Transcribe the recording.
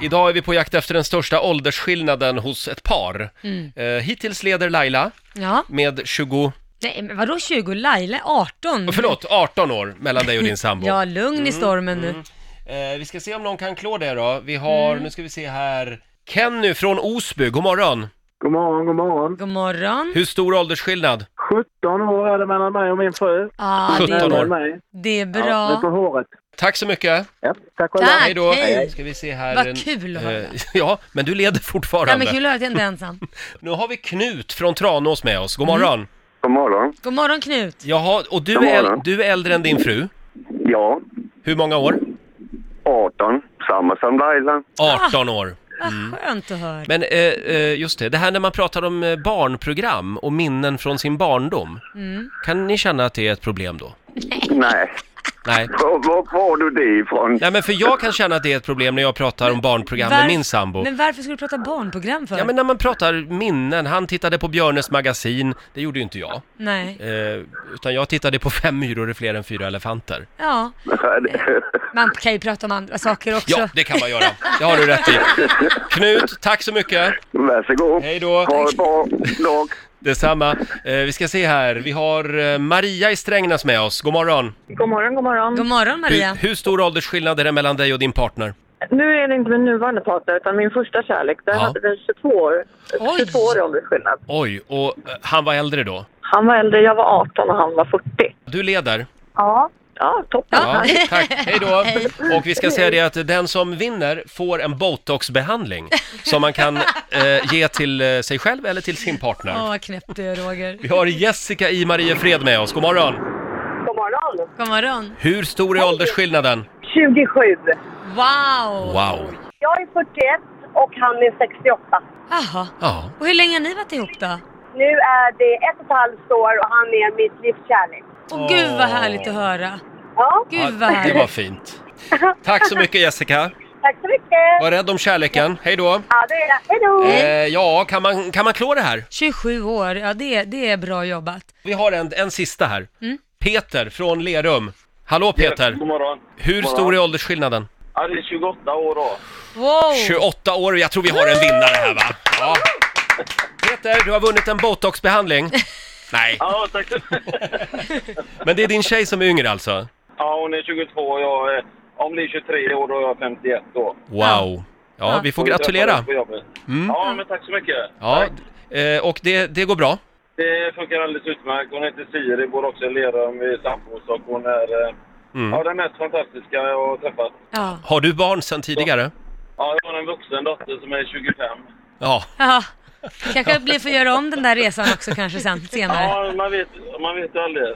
Idag är vi på jakt efter den största åldersskillnaden hos ett par. Eh, hittills leder Laila Ja. med 20, Nej, men vadå 20? Laila 18. förlåt, 18 år mellan dig och din sambo. Ja, lugn i stormen nu. Eh, vi ska se om någon kan klå det då. Vi har, Mm. nu ska vi se här, Kenny från Osby, god morgon. God morgon, god morgon. God morgon. Hur stor åldersskillnad? 17 år är det mellan mig och min fru. Ah, Nej, 17 det, år. mellan mig. det är Ja, det är på bra. håret. Tack så mycket. Ja, tack och Tack. lov. Hej då. Eh, hej. Ska vi se här. Vad en- eh, kul att höra. Ja, men du leder Ja, fortfarande. men kul att höra att jag inte är ensam. nu har vi Knut från Tranås med oss. God morgon. Mm. God morgon. God morgon Knut. Jaha, och du God är, äl- morgon. du är äldre än din fru. Ja, Hur många år? 18. Samma som Laila. Ah. 18 år. Vad skönt att höra. Mm. Men eh, eh, just det, det här när man pratar om eh, barnprogram och minnen från sin barndom. Kan ni känna att det är ett problem då? Nej. Nej. Var, var får du det ifrån? Nej men för jag kan känna att det är ett problem när jag pratar om barnprogram med Varf- min sambo. Men varför ska du prata barnprogram för? Ja men när man pratar minnen, han tittade på Björnes magasin, det gjorde ju inte jag. Nej. Eh, utan jag tittade på Fem myror är fler än fyra elefanter. Ja, man kan ju prata om andra saker också. Ja, det kan man göra. Det har du rätt i. Knut, tack så mycket. Varsågod. Hej då. Ha en bra dag. Detsamma. Eh, vi ska se här, vi har eh, Maria i Strängnäs med oss. God morgon. God morgon, god morgon. God morgon Maria. Hur, hur stor åldersskillnad är det mellan dig och din partner? Nu är det inte min nuvarande partner utan min första kärlek. Där Ja. hade vi 22 år. Oj. 22 år i åldersskillnad. Oj, och eh, han var äldre då? Han var äldre, jag var 18 och han var 40. Du leder. Ja. Ja, toppen. Ja, tack. Hej då. Och vi ska säga det att den som vinner får en botoxbehandling som man kan eh, ge till eh, sig själv eller till sin Åh, partner. vad knäppt du är Roger. Vi har Jessica i Mariefred med oss. God morgon. God morgon. God morgon. Hur stor är åldersskillnaden? 27. Wow! Wow. Jag är 41 och han är 68. Jaha. Ja. Och hur länge har ni varit ihop då? Nu är det ett och ett halvt år och han är mitt livs kärlek. Åh, gud vad Åh. härligt att höra. Ja, ja, Gud vad det härligt. var fint. Tack så mycket Jessica. tack så mycket. Var rädd om kärleken. Hej då. Ja, det är det. Hej då. Eh, ja, kan man, kan man klå det här? 27 år, ja det, det är bra jobbat. Vi har en, en sista här. Peter från Lerum. Hallå Peter! God morgon. Hur stor är åldersskillnaden? Ja, det är 28 år då. Oh. Wow! 28 år och jag tror vi har en vinnare här va? Ja. Peter, du har vunnit en botoxbehandling. Nej, Ja, tack så men det är din tjej som är yngre alltså? Ja, hon är 22 och jag är... Om det är 23 år då är jag 51 då. Wow! Ja, vi får Och vi gratulera. Mm. träffades på jobbet. Ja, men tack så mycket. Ja, Tack. eh, och det, det går bra. Det funkar alldeles utmärkt. Hon heter Siri, bor också i Lerum, vi är sambos och hon är eh, Mm. ja, den mest fantastiska jag har träffat. Ja. Har du barn sedan tidigare? Ja, jag har en vuxen dotter som är 25. Ja, ja. Det kanske blir för att göra om den där resan också kanske sen, senare. Ja, man vet, man vet ju aldrig.